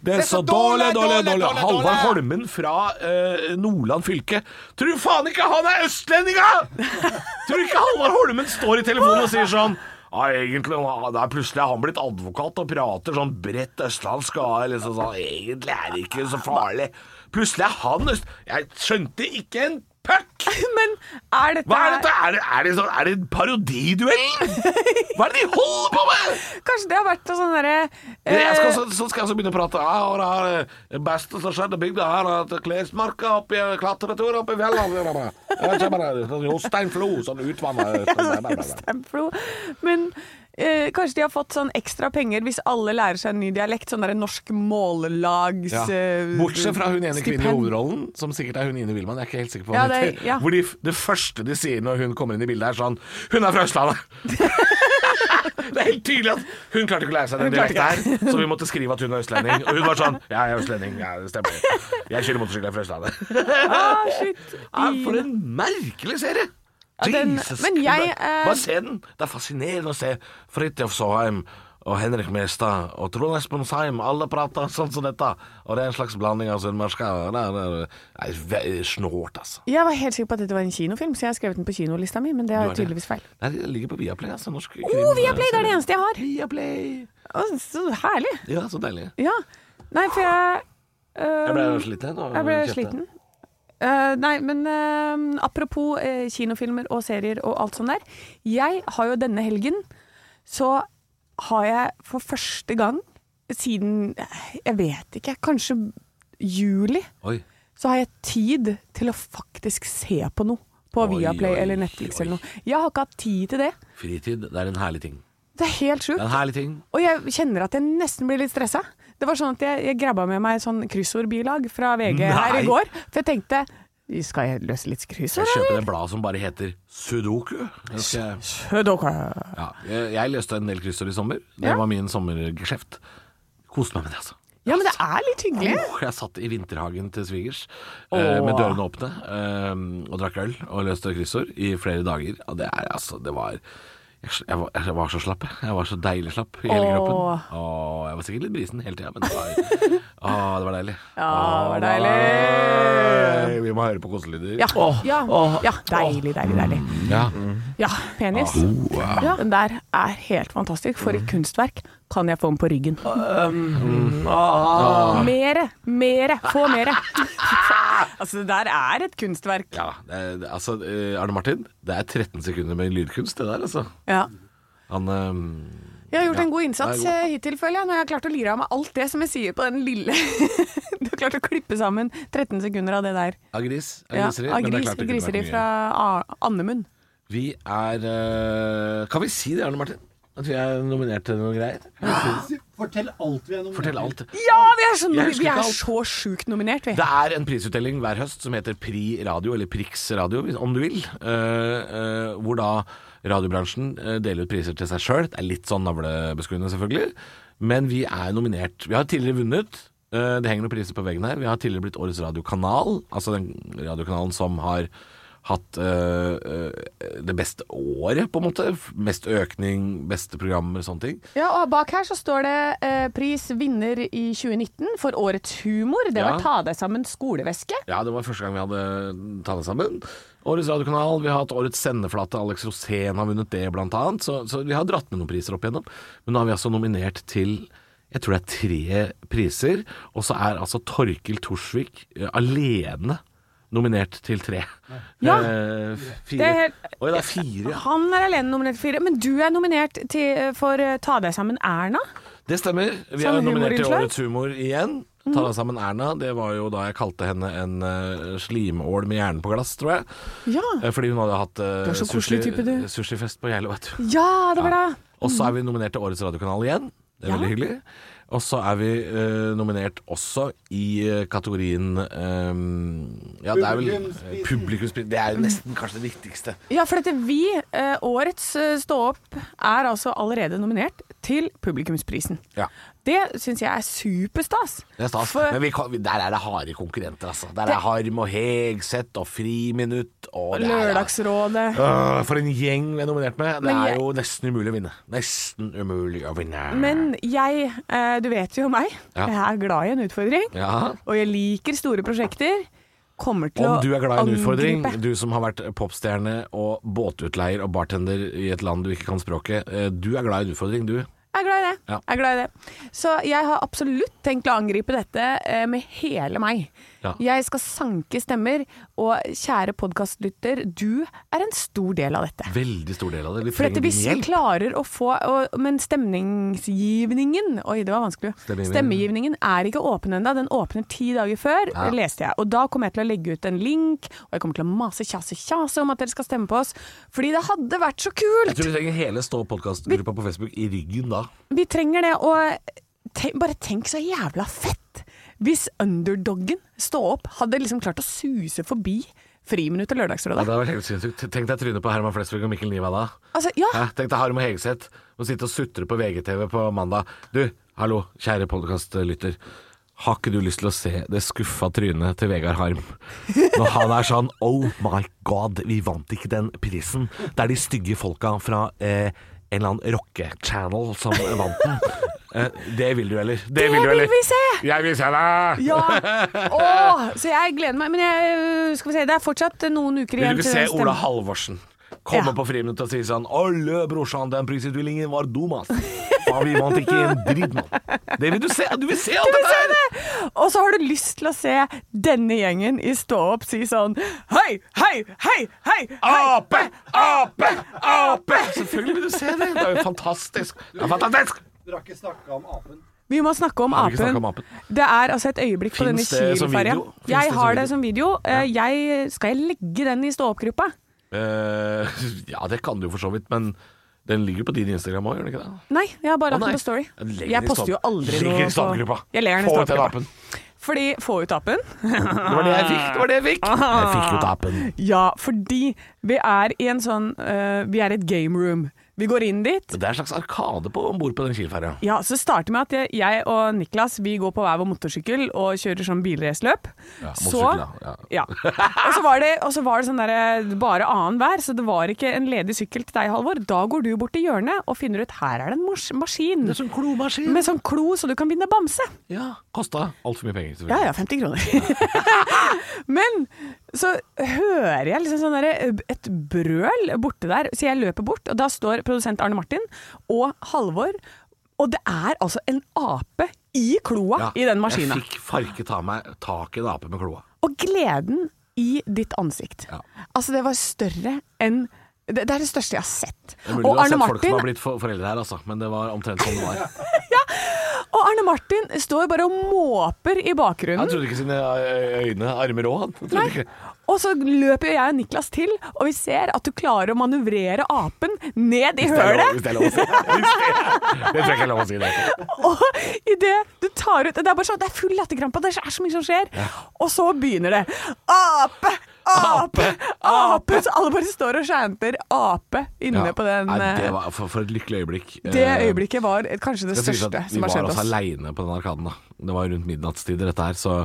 C: Det er så dårlig, dårlig, dårlig. Halvard Holmen fra eh, Nordland fylke. Tror du faen ikke han er østlendinga?! Tror du ikke Halvard Holmen står i telefonen og sier sånn ja, egentlig, han- det er plutselig er han blitt advokat og prater sånn bredt østlandsk. Og er liksom sånn, egentlig er det ikke så farlig. Plutselig er han øst... Jeg skjønte ikke en puck!
A: Men er dette,
C: Hva er dette? Er det, er det, sånn, er det en parodiduell? Hva er det de holder på med?!
A: Kanskje det har vært noe sånn derre
C: Men Jeg skal,
A: eh,
C: så, så skal jeg så begynne å prate. Ja, og det er det beste som skjedde i bygda her, at Klesmarka eh, oppi klatretur oppi fjellene. Jeg kjenner det. Sånn Jostein Flo som utvannet eh, sånn
A: Stamflo. sånn Men eh, kanskje de har fått sånn ekstra penger hvis alle lærer seg en ny dialekt? Sånn derre norsk mållags...
C: ja.
A: eh,
C: Bortsett fra hun ene kvinnen i
A: stipend.
C: hovedrollen, som sikkert er hun Ine Wilman. Jeg er ikke helt sikker på hva
A: Ja,
C: hun
A: det er-
C: heter.
A: ja.
C: Hvor de, det første de sier når hun kommer inn i bildet, er sånn Hun er fra Østlandet! det er helt tydelig at hun klarte ikke å lære seg den
A: klarte
C: dialekten her, så vi måtte skrive at hun er østlending. Og hun var sånn Ja, jeg er østlending. Ja, det stemmer. Jeg kjører motorsykkel jeg er fra Østlandet.
A: Ah, shit.
C: Ja, for en merkelig serie!
A: Ja, den- men jeg,
C: Christ.
A: eh,
C: Bare se den! Det er fascinerende å se Fridtjof Saaheim og Henrik Mestad og Trond Espen Seim. Alle prater sånn som dette. Og det er en slags blanding av sunnmørska og det er- det er ve- Snålt, altså.
A: Jeg var helt sikker på at dette var en kinofilm, så jeg har skrevet den på kinolista mi, men det
C: Du
A: er
C: har det.
A: tydeligvis feil.
C: Nei, Det ligger på Viaplay, altså. Norsk krim.
A: Å, Viaplay! Det er det eneste jeg har.
C: Viaplay.
A: Å, så herlig.
C: Ja, så deilig.
A: Ja. Nei, for jeg eh,
C: Jeg ble sliten. og
A: jeg ble
C: kjøpte.
A: sliten. Eh, nei, men eh, apropos eh, kinofilmer og serier og alt sånt der. Jeg har jo denne helgen så har jeg for første gang siden eh, Jeg vet ikke, kanskje juli,
C: Oi.
A: så har jeg tid til å faktisk se på noe. På
C: Oi,
A: Viaplay
C: oi,
A: eller Netflix
C: oi.
A: eller noe. Jeg har ikke hatt tid til det.
C: Fritid, det er en herlig ting.
A: Det er helt
C: Det
A: sjukt.
C: er en herlig ting.
A: Og jeg kjenner at jeg nesten blir litt stressa. Det var sånn at jeg, jeg grabba med meg sånn kryssordbilag fra VG her
C: Nei.
A: i går. For jeg tenkte skal jeg løse litt
C: Jeg
A: kryssord,
C: kjøper det bladet som bare heter Sudoku. Det skal jeg
A: eller?
C: Ja, jeg, jeg løste en del kryssord i sommer. Det
A: Ja.
C: var min sommergeskjeft. Koste meg med det, altså.
A: Ja, men det er litt hyggelig.
C: Åh, jeg satt i vinterhagen til svigers eh, med dørene åpne eh, og drakk øl og løste kryssord i flere dager. Og det er altså Det var jeg, jeg, var- jeg var så slapp, jeg. Jeg var så deilig slapp i hele
A: Åh.
C: kroppen. Og jeg var sikkert litt brisen hele tida, men det var, Åh, det var deilig.
A: Ja, det var
C: Åh,
A: deilig.
C: nei, Vi må høre på koselyder.
A: Ja, ja, ja. Deilig, deilig, deilig.
C: Ja.
A: Ja, penis. Ja, den der er helt fantastisk. For et kunstverk. Kan jeg få den på ryggen?
C: Um, mm, ah,
A: Mere! Mere! Få mere! Altså, det der er et kunstverk.
C: ja det, er- det, altså, eh, Arne Martin, det er 13 sekunder med lydkunst, det der, altså.
A: Ja.
C: Han eh,
A: Jeg har gjort
C: Ja,
A: en god innsats
C: det er
A: eh, hittil, føler jeg. Når jeg har klart å lire av meg alt det som jeg sier på den lille Du har klart å klippe sammen 13 sekunder av det der.
C: Av gris. Av
A: Ja,
C: griseri.
A: av
C: men det er
A: gris,
C: klart det kunne vært
A: griseri
C: mye.
A: fra A- Andemunn.
C: Vi er eh, Kan vi si det, Arne Martin? At vi er nominert til noen greier?
E: Fortell alt vi er nominert
C: Fortell alt.
A: Ja, vi er, så,
C: Jeg husker
A: vi
C: ikke
A: er
C: alt.
A: så sjukt nominert, vi.
C: Det er en prisutdeling hver høst som heter Pri Radio, eller Prix Radio, hvis- om du vil. eh, eh, hvor da radiobransjen eh, deler ut priser til seg sjøl. Det er litt sånn navlebeskuende, selvfølgelig. Men vi er nominert. Vi har tidligere vunnet. Eh, det henger noen priser på veggen her. Vi har tidligere blitt Årets radiokanal. Altså den radiokanalen som har hatt eh, eh, det beste året, på en måte. Mest økning, beste programmer, sånne ting.
A: Ja, og Bak her så står det eh, 'Pris vinner i 2019 for årets humor'. Det
C: Ja.
A: var 'Ta deg sammen skoleveske'.
C: Ja, det var første gang vi hadde tatt det sammen. Årets radiokanal, vi har hatt Årets sendeflate, Alex Rosén har vunnet det, blant annet. Så, så vi har dratt med noen priser opp igjennom. Men nå er vi altså nominert til jeg tror det er tre priser, og så er altså Torkil Torsvik eh, alene nominert til tre.
A: Ja,
C: Eh, f- fire.
A: det er helt-
C: Oi, det er fire, ja.
A: Han er alene nominert for fire, men du er nominert til, for eh, 'Ta deg sammen Erna'.
C: Det stemmer. Vi
A: Sånn
C: er nominert til
A: humorinnslag. Mhm.
C: Årets humor igjen. Ta deg sammen, Erna. Det var jo da jeg kalte henne en eh, slimål med hjernen på glass, tror jeg.
A: Ja,
C: Eh, Fordi hun hadde hatt eh,
A: Du er så
C: sushi-
A: koselig type, du. Mm.
C: sushifest på Geilo, vet du.
A: ja det var det!
C: Og så er vi nominert til Årets radiokanal igjen. Det er veldig hyggelig. Og så er vi eh, nominert også i eh, kategorien eh, Ja, det er vel
E: Publikumsprisen.
C: Publikumspris. Det er jo nesten kanskje det viktigste.
A: Ja, for dette vi, eh, årets eh, Stå opp, er altså allerede nominert til publikumsprisen.
C: Ja.
A: Det syns jeg er superstas.
C: Det er stas.
A: For-
C: Men vi kan, vi- der er det harde konkurrenter, altså. Der er
A: Det-
C: Harm og Hegseth og Friminutt og det altså. er-
A: Lørdagsrådet.
C: Øh, for en gjeng vi er nominert med. Det
A: Men
C: er
A: jeg-
C: jo nesten umulig å vinne. Nesten umulig å vinne.
A: Men jeg, eh, du vet jo meg,
C: Ja.
A: jeg er glad i en utfordring.
C: ja.
A: Og jeg liker store prosjekter. Kommer til
C: Om
A: å
C: du er glad i en utfordring,
A: angripe.
C: du som har vært popstjerne og båtutleier og bartender i et land du ikke kan språket, eh, du er glad i en utfordring, du.
A: Jeg er glad i det.
C: Ja.
A: Jeg er glad i det. Så jeg har absolutt tenkt å angripe dette eh, med hele meg.
C: Ja.
A: Jeg skal sanke stemmer, og kjære podkastlytter, du er en stor del av dette.
C: Veldig stor del av det. Vi
A: For dette,
C: trenger
A: hvis vi
C: din hjelp.
A: klarer å få og, Men stemningsgivningen Oi, det var vanskelig.
C: Stemmegivningen.
A: Stemmegivningen er ikke åpen ennå. Den åpner ti dager før,
C: Ja.
A: leste jeg. Og da kommer jeg til å legge ut en link, og jeg kommer til å mase kjase kjase om at dere skal stemme på oss. Fordi det hadde vært så
C: Jeg
A: kult!
C: tror vi trenger hele Stå podkast-gruppa på Facebook i ryggen da.
A: Vi trenger det. Og te bare tenk så jævla fett hvis underdoggen, stå opp, hadde liksom klart å suse forbi Friminutt og
C: Ja,
A: Lørdagsrådet.
C: det hadde vært helt sinnssykt. Tenk deg trynet på Herman Flesvig og Mikkel Niva da.
A: Altså, ja.
C: Hæ? Tenk deg Harm og Hegseth som sitter og sutrer på VGTV på mandag. Du, hallo, kjære podkastlytter. Har ikke du lyst til å se det skuffa trynet til Vegard Harm? Når han er sånn Oh my god, vi vant ikke den prisen. Det er de stygge folka fra eh, en eller annen rocke-channel som vant den. Eh, det vil du, eller?
A: Det
C: du,
A: vil vi se!
C: Jeg vil se det!
A: Ja! Åh, så jeg gleder meg. Men jeg, øh, skal vi se, det er fortsatt noen uker
C: Vil
A: igjen.
C: du ikke
A: til
C: se
A: den
C: Ola
A: stemmen.
C: Halvorsen komme
A: Ja.
C: på friminutt og si sånn Alle brorsan, den prisutdelingen var dum, ass. Faen, vi vant ikke en dritt, mann. Det vil du se. Du vil se alt dette her!
A: Og så har du lyst til å se denne gjengen i Stå opp si sånn Hei, hei, hei, hei! hei.
C: Ape! Ape! Ape! Selvfølgelig vil du se det. Det er jo fantastisk. Det er fantastisk!
E: Dere har ikke snakka om apen.
A: Vi må snakke om
C: Har vi ikke
A: apen.
C: snakket om apen?
A: Det er altså et øyeblikk på denne
C: Finns det som
A: Kiel-ferja.
C: video? Finns det
A: Jeg
C: som
A: har
C: video?
A: det som video. Eh, Jeg, skal jeg legge den i Stå opp-gruppa?
C: Eh, ja, det kan du jo for så vidt, men den ligger jo på din Instagram òg, gjør den ikke det?
A: Nei, jeg har bare
C: Å,
A: lagt
C: nei.
A: den på Story.
C: Legg den i
A: Jeg poster jo
C: stopp-
A: aldri
C: Legg
A: noe sånn.
C: den i stoppgruppa.
A: Jeg ler den i
C: Få ut den
A: stoppgruppa.
C: apen.
A: Fordi Få ut apen.
C: Det var det jeg fikk. Det var det jeg fikk. Jeg fikk jo apen.
A: Ja, fordi vi er i en sånn eh, Vi er i et game room. Vi går inn dit.
C: Det er en slags arkade på om bord på den Kiel-ferja.
A: Ja, så det starter med at jeg- jeg og Niklas vi går på hver vår motorsykkel og kjører sånn bilraceløp.
C: Ja,
A: så,
C: motorsykkel, ja,
A: ja. Og så var det, og så var det sånn derre bare annenhver, så det var ikke en ledig sykkel til deg, Halvor. Da går du bort til hjørnet og finner ut her er det en mors maskin
C: Det er sånn klomaskin.
A: med sånn klo så du kan binde bamse.
C: Ja, kosta altfor mye penger, selvfølgelig.
A: Ja ja, 50 kroner. Men så hører jeg liksom sånn derre et brøl borte der, så jeg løper bort, og da står produsent Arne Martin og Halvor, og det er altså en ape i kloa
C: Ja,
A: i den maskina.
C: Jeg fikk farket ta meg tak i en ape med kloa.
A: Og gleden i ditt ansikt.
C: Ja.
A: Altså, det var større enn det, det er det største jeg har sett.
C: Det er mulig
A: Og
C: du har
A: Arne,
C: sett folk som har
A: Martin,
C: blitt for foreldre her, altså, men det var omtrent sånn det var.
A: og Arne Martin står bare og måper i
C: Han
A: bakgrunnen.
C: trodde ikke sine ø- øyne, armer og han. Han trodde
A: Nei.
C: ikke.
A: Og så løper jeg og Niklas til, og vi ser at du klarer å manøvrere apen ned i
C: Det er lov-
A: hølet.
C: Hvis det er lov å si. Hvis det- Det tror jeg ikke er lov å si. Det.
A: Og idet du tar ut Det er bare sånn, det er full latterkrampe, det er så mye som skjer. Og så begynner det. Ape! Ape! Ape! Så alle bare står og chanter ape inne
C: Ja.
A: på den
C: Nei, det
A: eh,
C: var for, for et lykkelig øyeblikk.
A: Det
C: Eh,
A: øyeblikket var et- kanskje det
C: det skal sies at
A: største som har
C: Vi
A: skjedd
C: var altså
A: oss.
C: aleine på den arkaden. da Det var rundt midnattstider, dette her, så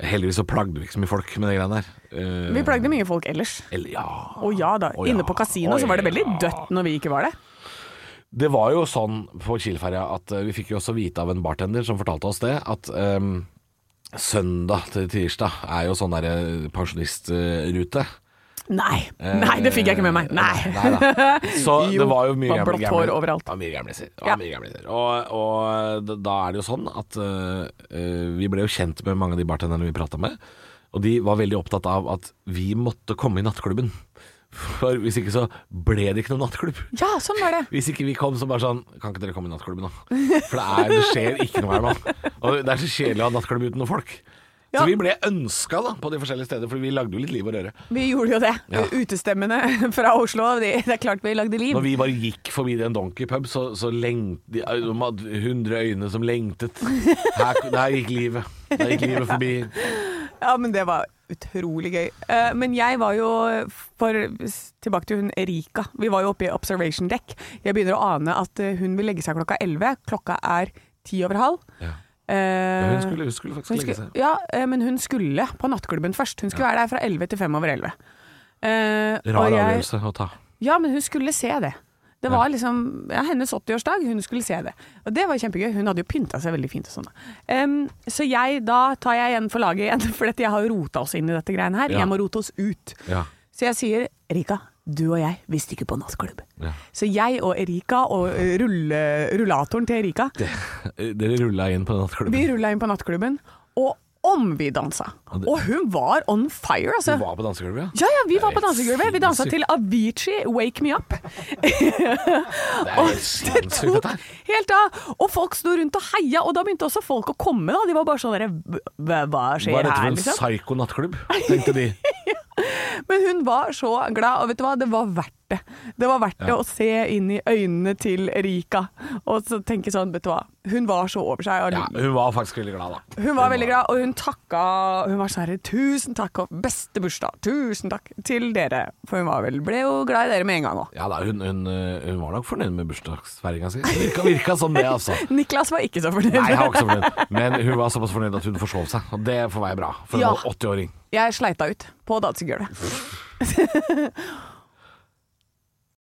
C: heldigvis så plagde vi ikke så mye folk med de greiene der. Eh,
A: Vi plagde mye folk ellers.
C: eller- ja.
A: Å ja da.
C: Å ja.
A: Inne på kasino
C: Å
A: så var det veldig
C: ja.
A: dødt når vi ikke var det.
C: Det var jo sånn på Kielferja at eh, vi fikk jo også vite av en bartender som fortalte oss det, at ehm, søndag til tirsdag er jo sånn derre pensjonistrute.
A: Nei, nei, det fikk jeg ikke med meg. Nei.
C: Eh, Nei da. Så
A: Jo,
C: det var jo mye
A: bare blått hår overalt.
C: Det var mye gamliser. Det
A: Ja.
C: var mye gamliser. Og, og d- da er det jo sånn at eh, eh, vi ble jo kjent med mange av de bartenderne vi prata med, og de var veldig opptatt av at vi måtte komme i nattklubben. For hvis ikke så ble det ikke noen nattklubb.
A: Ja, sånn var det.
C: Hvis ikke vi kom, så bare sånn Kan ikke dere komme i nattklubben, da? For det, er, det skjer ikke noe her nå. Og det er så kjedelig å ha nattklubb uten noen folk.
A: Ja.
C: Så vi ble ønska da, på de forskjellige steder, for vi lagde jo litt liv og røre.
A: Vi gjorde jo det.
C: Ja.
A: Utestemmene fra Oslo, de, det er klart vi lagde liv.
C: Når vi bare gikk forbi den donkeypub, så, så lengte de eh, de hadde 100 øyne som lengtet. Her, der gikk livet. Der gikk livet forbi.
A: Ja, men det var utrolig gøy. Eh, Men jeg var jo for Tilbake til hun Erika. Vi var jo oppe i observation deck. Jeg begynner å ane at eh, hun vil legge seg klokka 11. Klokka er ti over halv.
C: Ja.
A: Eh,
C: Hun skulle, hun skulle
A: hun
C: faktisk legge
A: skulle-
C: seg.
A: Ja, eh, men hun skulle på nattklubben først. Hun skulle være der fra 11 til 5 over 11. Eh, og
C: Rar
A: jeg-
C: avgjørelse å ta.
A: Ja, men hun skulle se det. Det var liksom ja, hennes 80-årsdag, hun skulle se det. Og det var kjempegøy. Hun hadde jo pynta seg veldig fint og sånn. da. Em, så jeg, da tar jeg igjen for laget igjen, for dette, jeg har jo rota oss inn i dette greiene her.
C: Ja.
A: Jeg må rote oss ut.
C: Ja.
A: Så jeg sier Erika, du og jeg, vi stikker på nattklubb.
C: Ja.
A: Så jeg og Erika og eh, rulle, rullatoren til Erika,
C: Dere rulla inn på den nattklubben.
A: vi rulla inn på nattklubben, og om vi dansa!
C: Ja, det-
A: Og hun var on fire, altså.
C: Du var på dansegulvet, ja?
A: Ja, ja, vi var på
C: Det er helt
A: dansegulvet. Vi dansa
C: sinnssykt.
A: til Avicii, 'Wake Me Up'.
C: Det er helt sinnssykt, dette her.
A: Helt av! Og folk sto rundt og heia, og da begynte også folk å komme. da De var bare sånn derre hva, hva skjer
C: Var dette
A: her,
C: for en
A: liksom?
C: psyko nattklubb, tenkte de.
A: Men hun var så glad, og vet du hva, det var verdt det. Det var verdt det å se inn i øynene til Erika og så tenke sånn, vet du hva. Hun var så over seg. Og
C: Ja, hun var faktisk veldig glad, da.
A: Hun var veldig glad, og hun takka Hun var sånn her Tusen takk, og beste bursdag. Tusen takk til dere. For hun var vel, ble jo glad i dere med en gang òg.
C: Ja da, hun, hun, øh, hun var nok fornøyd med bursdagsfeiringa si. Virka, virka som det, altså.
A: Niklas var ikke så fornøyd.
C: Nei, jeg var ikke så fornøyd. Men hun var såpass fornøyd at hun forsov seg. Og det får være bra for en
A: Ja.
C: 80-åring.
A: Jeg sleita ut på dansegulvet.